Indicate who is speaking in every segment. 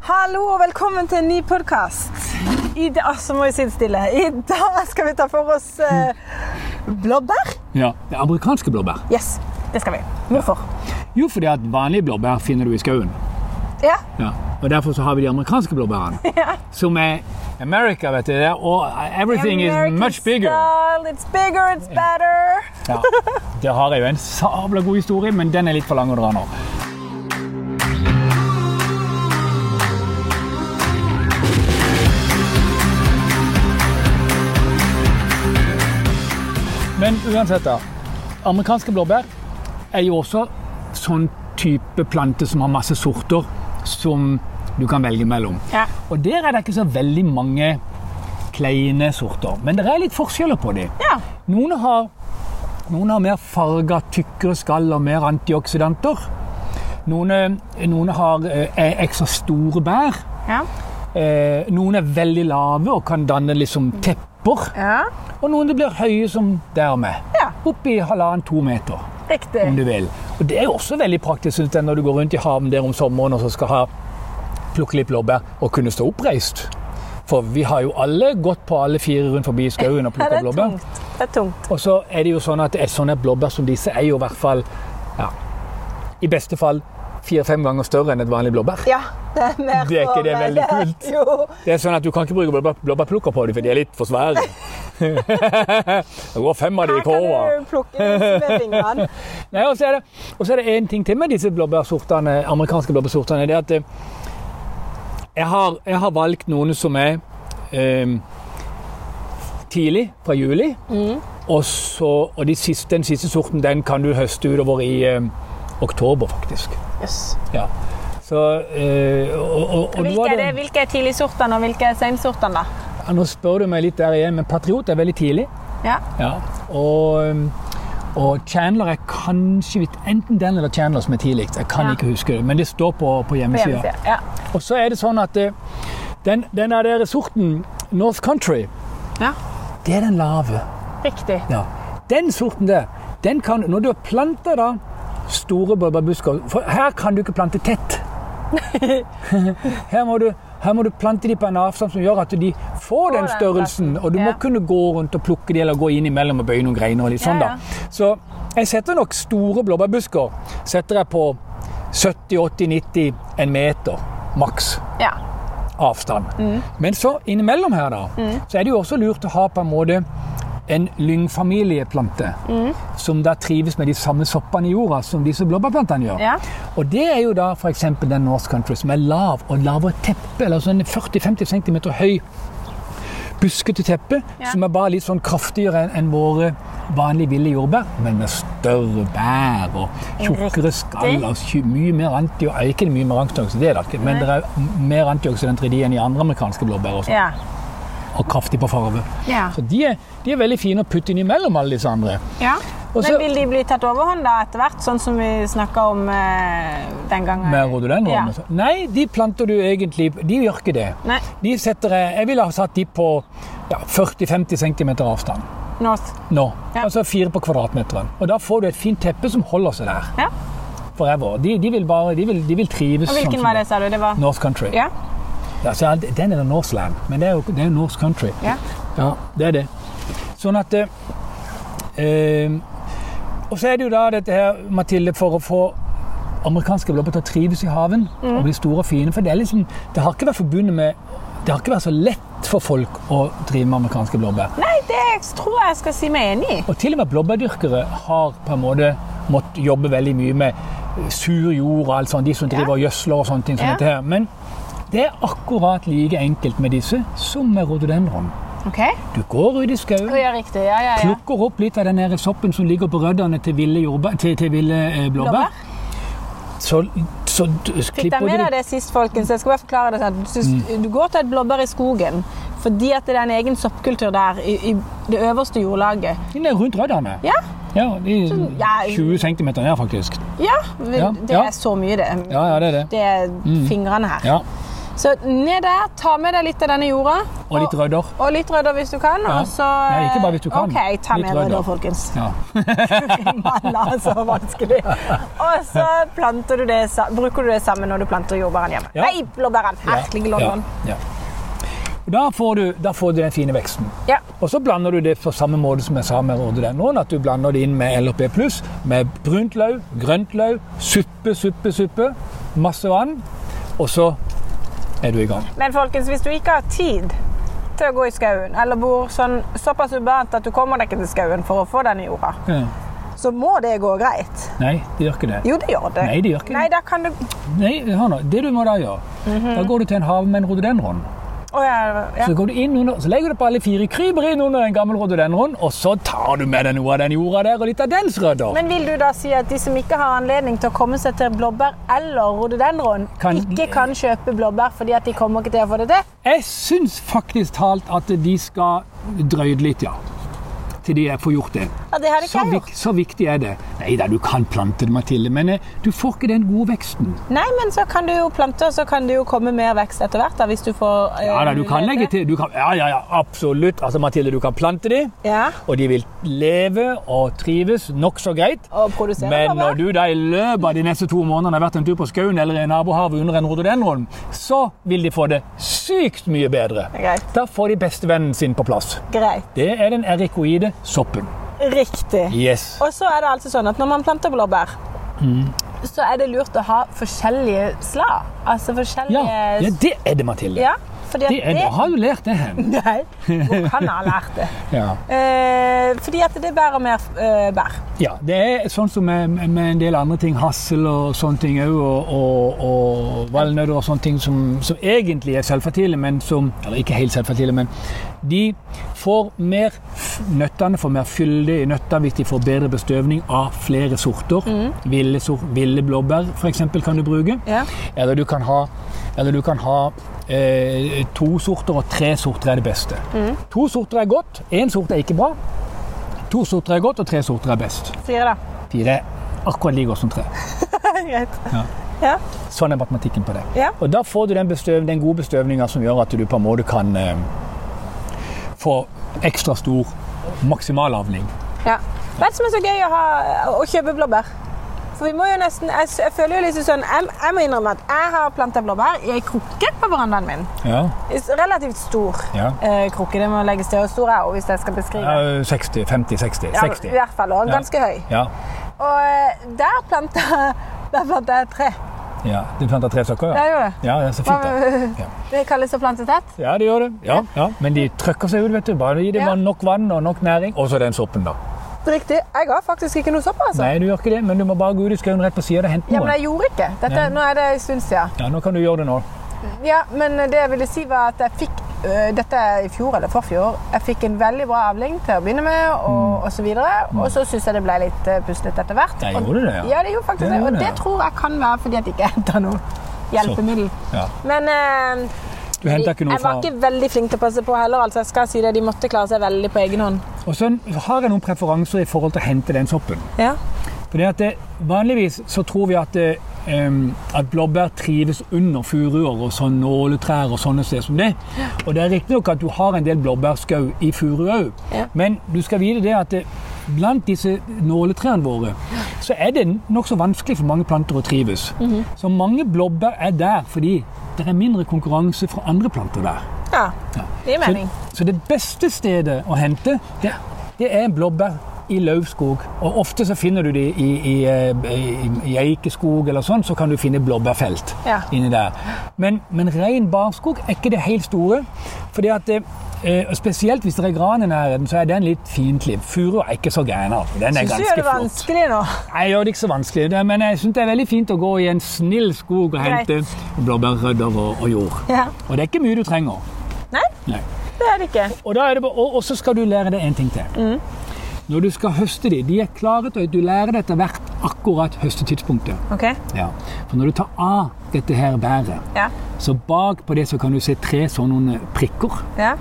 Speaker 1: Hallo og velkommen til en ny podkast. I dag altså må jeg sitte stille. I dag skal vi ta for oss eh, blåbær.
Speaker 2: Ja, det er Amerikanske blåbær.
Speaker 1: Yes, det skal vi. Hvorfor?
Speaker 2: Jo, fordi at vanlige blåbær finner du i skauen.
Speaker 1: Ja.
Speaker 2: Ja. Og Derfor så har vi de amerikanske blåbærene. Som er America, vet du. det er- Og everything is much bigger.
Speaker 1: Style. It's bigger, it's better.
Speaker 2: Ja. Der har jeg jo en sabla god historie, men den er litt for lang å dra nå. Men uansett, da. Amerikanske blåbær er jo også sånn type plante som har masse sorter som du kan velge mellom.
Speaker 1: Ja.
Speaker 2: Og der er det ikke så veldig mange kleine sorter, men det er litt forskjeller på dem.
Speaker 1: ja.
Speaker 2: Noen har, noen har mer farga, tykkere skall og mer antioksidanter. Noen, eh, noen har, eh, er ekstra store bær.
Speaker 1: Ja.
Speaker 2: Eh, Noen er veldig lave og kan danne liksom tepper.
Speaker 1: ja.
Speaker 2: Og noen det blir høye som dermed.
Speaker 1: Ja.
Speaker 2: Oppi halvannen-to meter, om
Speaker 1: Riktig.
Speaker 2: du vil. Og det er jo også veldig praktisk synes jeg, når du går rundt i haven der om sommeren og så skal ha plukke litt blåbær og kunne stå oppreist. For vi har jo alle gått på alle fire rundt forbi skauen og
Speaker 1: Ja, det
Speaker 2: plukka
Speaker 1: er
Speaker 2: blåbær.
Speaker 1: tungt. Det er tungt.
Speaker 2: Og så er det jo sånn at et sånt blåbær som disse er jo i hvert fall ja, i beste fall fire-fem ganger større enn et vanlig blåbær.
Speaker 1: Ja, det er mer
Speaker 2: Det er ikke
Speaker 1: for
Speaker 2: det
Speaker 1: meg.
Speaker 2: veldig kult?
Speaker 1: Jo.
Speaker 2: Det er sånn at Du kan ikke bruke blåbær, blåbærplukker på dem, for de er litt for svære. det går fem av de
Speaker 1: Her
Speaker 2: i
Speaker 1: kan
Speaker 2: korva.
Speaker 1: du plukke med fingrene.
Speaker 2: Nei, og så er det, og så er det en ting til med disse blåbærsortene, amerikanske blåbærsortene. Det er at eh, jeg har, jeg har valgt noen som er eh, tidlig, fra juli.
Speaker 1: Mm.
Speaker 2: Og, så, og de siste, den siste sorten den kan du høste utover i eh, oktober, faktisk.
Speaker 1: Yes.
Speaker 2: Ja. Så, eh, og, og, og noe
Speaker 1: Hvilke
Speaker 2: av
Speaker 1: er, det, hvilke er tidligsortene, og hvilke er sensortene? da?
Speaker 2: Ja, nå spør du meg litt der igjen, men Patriot er veldig tidlig.
Speaker 1: Ja.
Speaker 2: Ja. Og, um, og Chandler er kanskje vidt- Enten den eller Chandler som er tidligst. Jeg kan
Speaker 1: Ja.
Speaker 2: ikke huske det, men det står på, på
Speaker 1: På
Speaker 2: hjemmesida.
Speaker 1: hjemmesida. Ja.
Speaker 2: Og så er det sånn at eh, den, den er der sorten North Country,
Speaker 1: ja.
Speaker 2: det er den lave.
Speaker 1: Riktig.
Speaker 2: Ja. Den sorten der, den kan Når du har planta da store blåbærbusker For her kan du ikke plante tett. her, må du, her må du plante de på en avstand som gjør at de får
Speaker 1: den
Speaker 2: den størrelsen. Og du må
Speaker 1: ja.
Speaker 2: kunne gå rundt og plukke de, eller gå innimellom og bøye noen greiner. og litt sånn
Speaker 1: Ja,
Speaker 2: da. Så jeg setter nok store blåbærbusker setter jeg på 70-80-90 en meter maks
Speaker 1: Ja.
Speaker 2: avstand. Men så innimellom her, da, så er det jo også lurt å ha på en måte en lyngfamilieplante som da trives med de samme soppene i jorda som disse blåbærplantene gjør.
Speaker 1: Ja.
Speaker 2: Og det er jo da f.eks. den North Country som er lav og lavere teppe, eller sånn 40-50 cm høy buskete teppe,
Speaker 1: Ja.
Speaker 2: som er bare litt sånn kraftigere enn- enn våre vanlige ville jordbær, men med større bær og tjukkere skall og tju- mye mer anti og ikke mye mer antioksidanter, det er det ikke, men
Speaker 1: Nei.
Speaker 2: det er m- mer antioksidanter i de enn i andre amerikanske blåbær også,
Speaker 1: Ja.
Speaker 2: og kraftig på farve.
Speaker 1: Ja.
Speaker 2: Så de er, de er veldig fine å putte inn imellom alle disse andre.
Speaker 1: ja.
Speaker 2: Og så-
Speaker 1: Men vil de bli tatt overhånd da etter hvert, sånn som vi snakka om eh, den gangen?
Speaker 2: Med rhododendron.
Speaker 1: Ja.
Speaker 2: og sånn. Nei, de planter du egentlig De gjør ikke det.
Speaker 1: Nei.
Speaker 2: De setter, eh, jeg jeg ville ha satt de på ja, 40-50 cm avstand.
Speaker 1: North.
Speaker 2: Nå.
Speaker 1: Ja.
Speaker 2: Altså fire på kvadratmeteren. Og da får du et fint teppe som holder seg der
Speaker 1: Ja.
Speaker 2: forever. De, de vil bare, de vil, de vil trives.
Speaker 1: Og
Speaker 2: sånn
Speaker 1: hvilken
Speaker 2: som
Speaker 1: var det, sa du? Det var
Speaker 2: North Country.
Speaker 1: Ja.
Speaker 2: Ja, så er det- den er det Northland, men det er jo det er jo North Country.
Speaker 1: Ja.
Speaker 2: Ja, det er det. Sånn at eh, eh, Og så er det jo da dette her, Mathilde, for å få amerikanske blåbær til å trives i haven og bli store og fine. For det, er liksom, det har ikke vært forbundet med Det har ikke vært så lett for folk å drive med amerikanske blåbær.
Speaker 1: Nei, det tror jeg jeg skal si meg enig i.
Speaker 2: Og til og med blåbærdyrkere har på en måte måttet jobbe veldig mye med eh, sur jord og alt sånt, de som driver og gjødsler og sånne ting som
Speaker 1: Ja.
Speaker 2: dette her. Men det er akkurat like enkelt med disse som med rhododendron.
Speaker 1: Ok?
Speaker 2: Du går ut i skauen,
Speaker 1: Å, Ja, riktig. Ja, ja, ja.
Speaker 2: plukker opp litt av den her soppen som ligger på røddene til ville, jordbær, til, til ville eh, blåbær.
Speaker 1: Blåbær.
Speaker 2: Så, så d-
Speaker 1: Fikk dere
Speaker 2: klipper
Speaker 1: med
Speaker 2: du
Speaker 1: deg det sist, folkens? Jeg skal bare forklare det sånn. Du,
Speaker 2: Mm.
Speaker 1: du går til et blåbær i skogen fordi at det er en egen soppkultur der, i, i det øverste jordlaget.
Speaker 2: Den er eh, rundt røddene.
Speaker 1: Ja,
Speaker 2: Ja, de,
Speaker 1: ja.
Speaker 2: 20 cm ned, faktisk.
Speaker 1: ja, vi-
Speaker 2: Ja,
Speaker 1: det
Speaker 2: ja.
Speaker 1: er så mye, det.
Speaker 2: Ja, ja, det er det.
Speaker 1: Det er fingrene her.
Speaker 2: Ja.
Speaker 1: Så ned der, ta med deg litt av denne jorda.
Speaker 2: Og litt rødder.
Speaker 1: Og litt rødder hvis du kan.
Speaker 2: Ja.
Speaker 1: Og så,
Speaker 2: Nei, ikke bare hvis du kan.
Speaker 1: Ok, ta
Speaker 2: Litt
Speaker 1: med rødder,
Speaker 2: rødder.
Speaker 1: folkens.
Speaker 2: Ja.
Speaker 1: Malla, så vanskelig. Og så planter du det, sa- bruker du det sammen når du planter jordbæren hjemme.
Speaker 2: Ja.
Speaker 1: Nei, blåbæren! Herlig London.
Speaker 2: Ja. Og Da får, du, da får du den fine veksten.
Speaker 1: Ja.
Speaker 2: Og så blander du det på samme måte som jeg sa med rhododendron. At du blander det inn med LRP+, med brunt løv, grønt løv, suppe, suppe, suppe. Masse vann. Og så er du i gang.
Speaker 1: Men folkens, hvis du ikke har tid til å gå i skauen, eller bor sånn, såpass ubernt at du kommer deg ikke til skauen for å få den i jorda,
Speaker 2: Ja.
Speaker 1: så må det gå greit.
Speaker 2: Nei, det gjør ikke det.
Speaker 1: Jo, det gjør det.
Speaker 2: Nei, det gjør ikke det.
Speaker 1: Nei, da kan du
Speaker 2: Nei, hør nå. Det du må da gjøre, da går du til en hage med en rhododendron.
Speaker 1: Å ja. Mhm. ja.
Speaker 2: Så, går du inn under, så legger du på alle fire kryper inn under en gammel rhododendron, og så tar du med deg noe av den jorda der og litt av dens rødder.
Speaker 1: Men vil du da si at de som ikke har anledning til å komme seg til blåbær eller rhododendron,
Speaker 2: Kan-
Speaker 1: ikke kan kjøpe blåbær fordi at de kommer ikke til å få det til?
Speaker 2: Jeg syns faktisk talt at de skal drøye det litt, ja. Til de får gjort det.
Speaker 1: Ja, det hadde
Speaker 2: Så,
Speaker 1: ikke jeg gjort.
Speaker 2: vik, så viktig er det. Nei da, du kan plante det, Mathilde, men eh, du får ikke den gode veksten.
Speaker 1: Nei, men så kan du jo plante, og så kan det jo komme mer vekst etter hvert. da, hvis du får... eh,
Speaker 2: Ja da, du kan legge
Speaker 1: muligheter.
Speaker 2: til. Du kan, ja, ja, ja, absolutt. Altså, Mathilde, du kan plante de,
Speaker 1: Ja,
Speaker 2: og de vil leve og trives nokså greit.
Speaker 1: og produsere
Speaker 2: Men når
Speaker 1: blåbær.
Speaker 2: du da i løpet av de neste to månedene har vært en tur på skauen eller i nabohavet under en rhododendron, så vil de få det sykt mye bedre.
Speaker 1: Greit.
Speaker 2: Da får de bestevennen sin på plass.
Speaker 1: Greit.
Speaker 2: Det er den erikoide soppen.
Speaker 1: Riktig.
Speaker 2: Yes.
Speaker 1: Og så er det altså sånn at når man planter blåbær,
Speaker 2: Mm.
Speaker 1: så er det lurt å ha forskjellige slag. Altså forskjellige
Speaker 2: Ja, ja det er det, Mathilde.
Speaker 1: Ja, fordi at
Speaker 2: Det er det. Har du lært det hen?
Speaker 1: Nei, hvor kan jeg ha lært det?
Speaker 2: Ja.
Speaker 1: Eh, fordi at det bærer mer eh, bær.
Speaker 2: ja. Det er sånn som med, med en del andre ting, hassel og sånne ting òg, og, og, og valnøtter og sånne ting som, som egentlig er selvfertile, men som Eller ikke helt selvfertile, men de får mer f- Nøttene får mer fylde i nøtta hvis de får bedre bestøvning av flere sorter. Ville, sor, ville blåbær, f.eks., kan du bruke.
Speaker 1: Ja.
Speaker 2: Eller du kan ha, eller du kan ha eh, to sorter, og tre sorter er det beste. To sorter er godt, én sort er ikke bra. To sorter er godt, og tre sorter er best.
Speaker 1: Sier det.
Speaker 2: Fire er akkurat like godt som tre.
Speaker 1: Greit.
Speaker 2: Ja.
Speaker 1: Ja.
Speaker 2: Sånn er matematikken på det.
Speaker 1: Ja.
Speaker 2: Og da får du den, bestøv, den gode bestøvninga som gjør at du på en måte kan eh, få ekstra stor maksimalavling.
Speaker 1: ja. Vet du som er så gøy å, ha, å kjøpe blåbær? For vi må jo nesten Jeg, s- jeg føler jo liksom sånn jeg, jeg må innrømme at jeg har planta blåbær i ei krukke på verandaen min.
Speaker 2: Ja.
Speaker 1: Relativt stor
Speaker 2: Ja.
Speaker 1: eh, krukke. Det må legges til. Og stor er hun, hvis jeg skal beskrive.
Speaker 2: 60, 50, 60,
Speaker 1: Ja,
Speaker 2: 60.
Speaker 1: I hvert fall, og
Speaker 2: Ja.
Speaker 1: ganske høy.
Speaker 2: Ja.
Speaker 1: Og eh, der planta, der planta jeg et tre.
Speaker 2: ja. Du planta tre sokker, ja?
Speaker 1: Jeg gjorde det.
Speaker 2: Ja, det er så fint. da. Ja.
Speaker 1: Det kalles å plante tett.
Speaker 2: Ja, det gjør det. Ja, ja. Men de trøkker seg ut, vet du. Bare gi dem
Speaker 1: Ja.
Speaker 2: nok vann og nok næring. Og så den soppen, da.
Speaker 1: Riktig. Jeg ga faktisk ikke noe sopp, altså.
Speaker 2: Nei, du gjør ikke det, men du må bare gå ut i skauen rett på sida og hente
Speaker 1: Ja, men
Speaker 2: noe.
Speaker 1: jeg gjorde ikke. Dette,
Speaker 2: Nei.
Speaker 1: nå er det en stund siden.
Speaker 2: Ja, nå kan du gjøre det nå.
Speaker 1: Ja, men det jeg ville si var at jeg fikk øh, dette er i fjor eller forfjor. Jeg fikk en veldig bra avling til å begynne med, og, og så videre. Og så syns jeg det ble litt øh, puslete etter hvert.
Speaker 2: Mm. Ja,
Speaker 1: Og-
Speaker 2: gjorde det, ja.
Speaker 1: Ja, det gjorde faktisk
Speaker 2: Det
Speaker 1: det.
Speaker 2: gjorde
Speaker 1: Og
Speaker 2: det,
Speaker 1: det
Speaker 2: ja.
Speaker 1: tror jeg kan være fordi at jeg ikke henter noe hjelpemiddel.
Speaker 2: Ja.
Speaker 1: Men øh,
Speaker 2: Du henter ikke noe
Speaker 1: Jeg
Speaker 2: fra
Speaker 1: var ikke veldig flink til å passe på heller. altså jeg skal si det, De måtte klare seg veldig på egen hånd.
Speaker 2: Og så har jeg noen preferanser i forhold til å hente den soppen.
Speaker 1: Ja.
Speaker 2: Fordi at det, Vanligvis så tror vi at, det, em, at blåbær trives under furuer og sånn nåletrær og sånne steder som det. Og det er riktignok at du har en del blåbærskau i furu òg,
Speaker 1: Ja.
Speaker 2: men du skal vite det at det, blant disse nåletrærne våre så er det nokså vanskelig for mange planter å trives. Så mange blåbær er der fordi det er mindre konkurranse fra andre planter der.
Speaker 1: ja. Det gir
Speaker 2: Så,
Speaker 1: mening.
Speaker 2: så det beste stedet å hente, det, det er en blåbær i løvskog. Og ofte så finner du de i, i, eh, i, i eikeskog eller sånn, så kan du finne blåbærfelt
Speaker 1: Ja.
Speaker 2: inni der. Men, men ren barskog er ikke det helt store. fordi at det, eh, og Spesielt hvis det er gran i nærheten, så er den litt fiendtlig. Furu er ikke så gæren. altså. Den er
Speaker 1: Syns du gjør
Speaker 2: ganske
Speaker 1: det
Speaker 2: flott.
Speaker 1: vanskelig nå?
Speaker 2: Jeg gjør det ikke så vanskelig, det- men jeg syns det er veldig fint å gå i en snill skog og
Speaker 1: Greit.
Speaker 2: hente blåbærrødder og, og jord.
Speaker 1: Ja.
Speaker 2: Og det er ikke mye du trenger.
Speaker 1: Nei,
Speaker 2: Nei.
Speaker 1: det er det ikke.
Speaker 2: Og, da er det, bare- og, og så skal du lære deg en ting til.
Speaker 1: Mm.
Speaker 2: Når du skal høste de, de er klare til at du lærer det etter hvert akkurat høstetidspunktet.
Speaker 1: Ok.
Speaker 2: Ja. For når du tar av dette her bæret,
Speaker 1: Ja.
Speaker 2: så bak på det så kan du se tre sånne prikker.
Speaker 1: ja.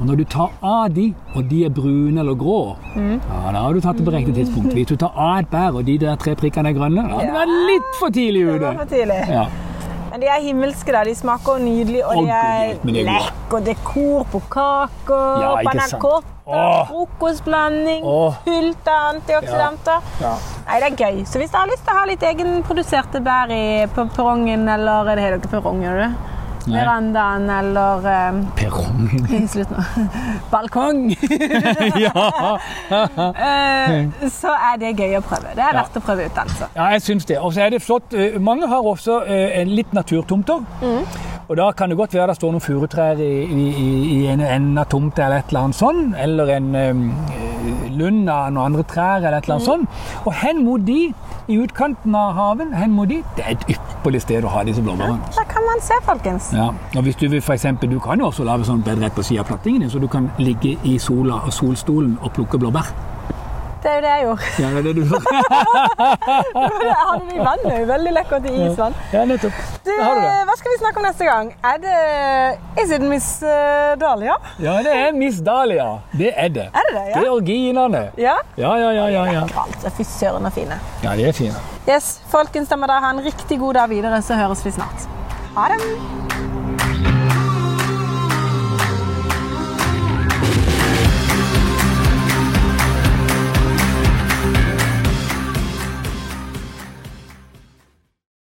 Speaker 2: Og når du tar av de, og de er brune eller grå,
Speaker 1: Mm.
Speaker 2: ja, da har du tatt det på riktig tidspunkt. Hvis du tar av et bær, og de der tre prikkene er grønne, da har du vært litt for tidlig
Speaker 1: Det var
Speaker 2: ute.
Speaker 1: for tidlig.
Speaker 2: Ja.
Speaker 1: Men de er himmelske, da. De smaker jo nydelig, og
Speaker 2: Å,
Speaker 1: de
Speaker 2: Gud, men
Speaker 1: er
Speaker 2: det er gode.
Speaker 1: lekker dekor på kaker,
Speaker 2: Ja,
Speaker 1: ja,
Speaker 2: ikke sant.
Speaker 1: panacotta,
Speaker 2: Åh.
Speaker 1: frokostblanding,
Speaker 2: Åh.
Speaker 1: fullt av antioksidanter.
Speaker 2: Ja.
Speaker 1: Nei, det er gøy. Så hvis dere har lyst til å ha litt egenproduserte bær i, på perrongen, eller det heter ikke perrong, gjør det?
Speaker 2: Nei.
Speaker 1: Verandaen eller um,
Speaker 2: Perrongen.
Speaker 1: Slutt nå. Balkong!
Speaker 2: ja.
Speaker 1: Eh, så er det gøy å prøve. Det er
Speaker 2: Ja.
Speaker 1: verdt å prøve ut, altså.
Speaker 2: ja, jeg syns det. Og så er det flott. eh, Mange har også eh, en litt naturtomter. Og da kan det godt være det står noen furutrær i, i, i- i en ende av tomta eller et eller annet sånn. Eller en um, lund av noen andre trær eller et eller annet sånn. Og hen mot de, i utkanten av haven, hen mot de, det er et ypperlig sted å ha disse blåbærene.
Speaker 1: Da kan man se, folkens.
Speaker 2: Ja, og hvis du vil for eksempel, du kan jo også lave sånn bedre rett på siden av plattingen, din, så du kan ligge i sola og solstolen og plukke blåbær.
Speaker 1: Det er jo det jeg gjorde.
Speaker 2: Ja, det er det du gjør.
Speaker 1: Jeg hadde det i vannet. jo. Veldig lekkert i isvann.
Speaker 2: Ja, nettopp.
Speaker 1: Du,
Speaker 2: Da har du det.
Speaker 1: Eh, hva skal vi snakke om neste gang? Er det Is it Miss eh, Dahlia?
Speaker 2: Ja, det er Miss Dahlia. Det er det.
Speaker 1: Er det det?
Speaker 2: Det
Speaker 1: Ja.
Speaker 2: er originene.
Speaker 1: ja?
Speaker 2: Ja, ja, ja, ja, ja.
Speaker 1: Altså, Fy søren og fine.
Speaker 2: Ja, det er fint.
Speaker 1: Yes, folkens, da må dere ha en riktig god dag videre, så høres vi snart. Ha det!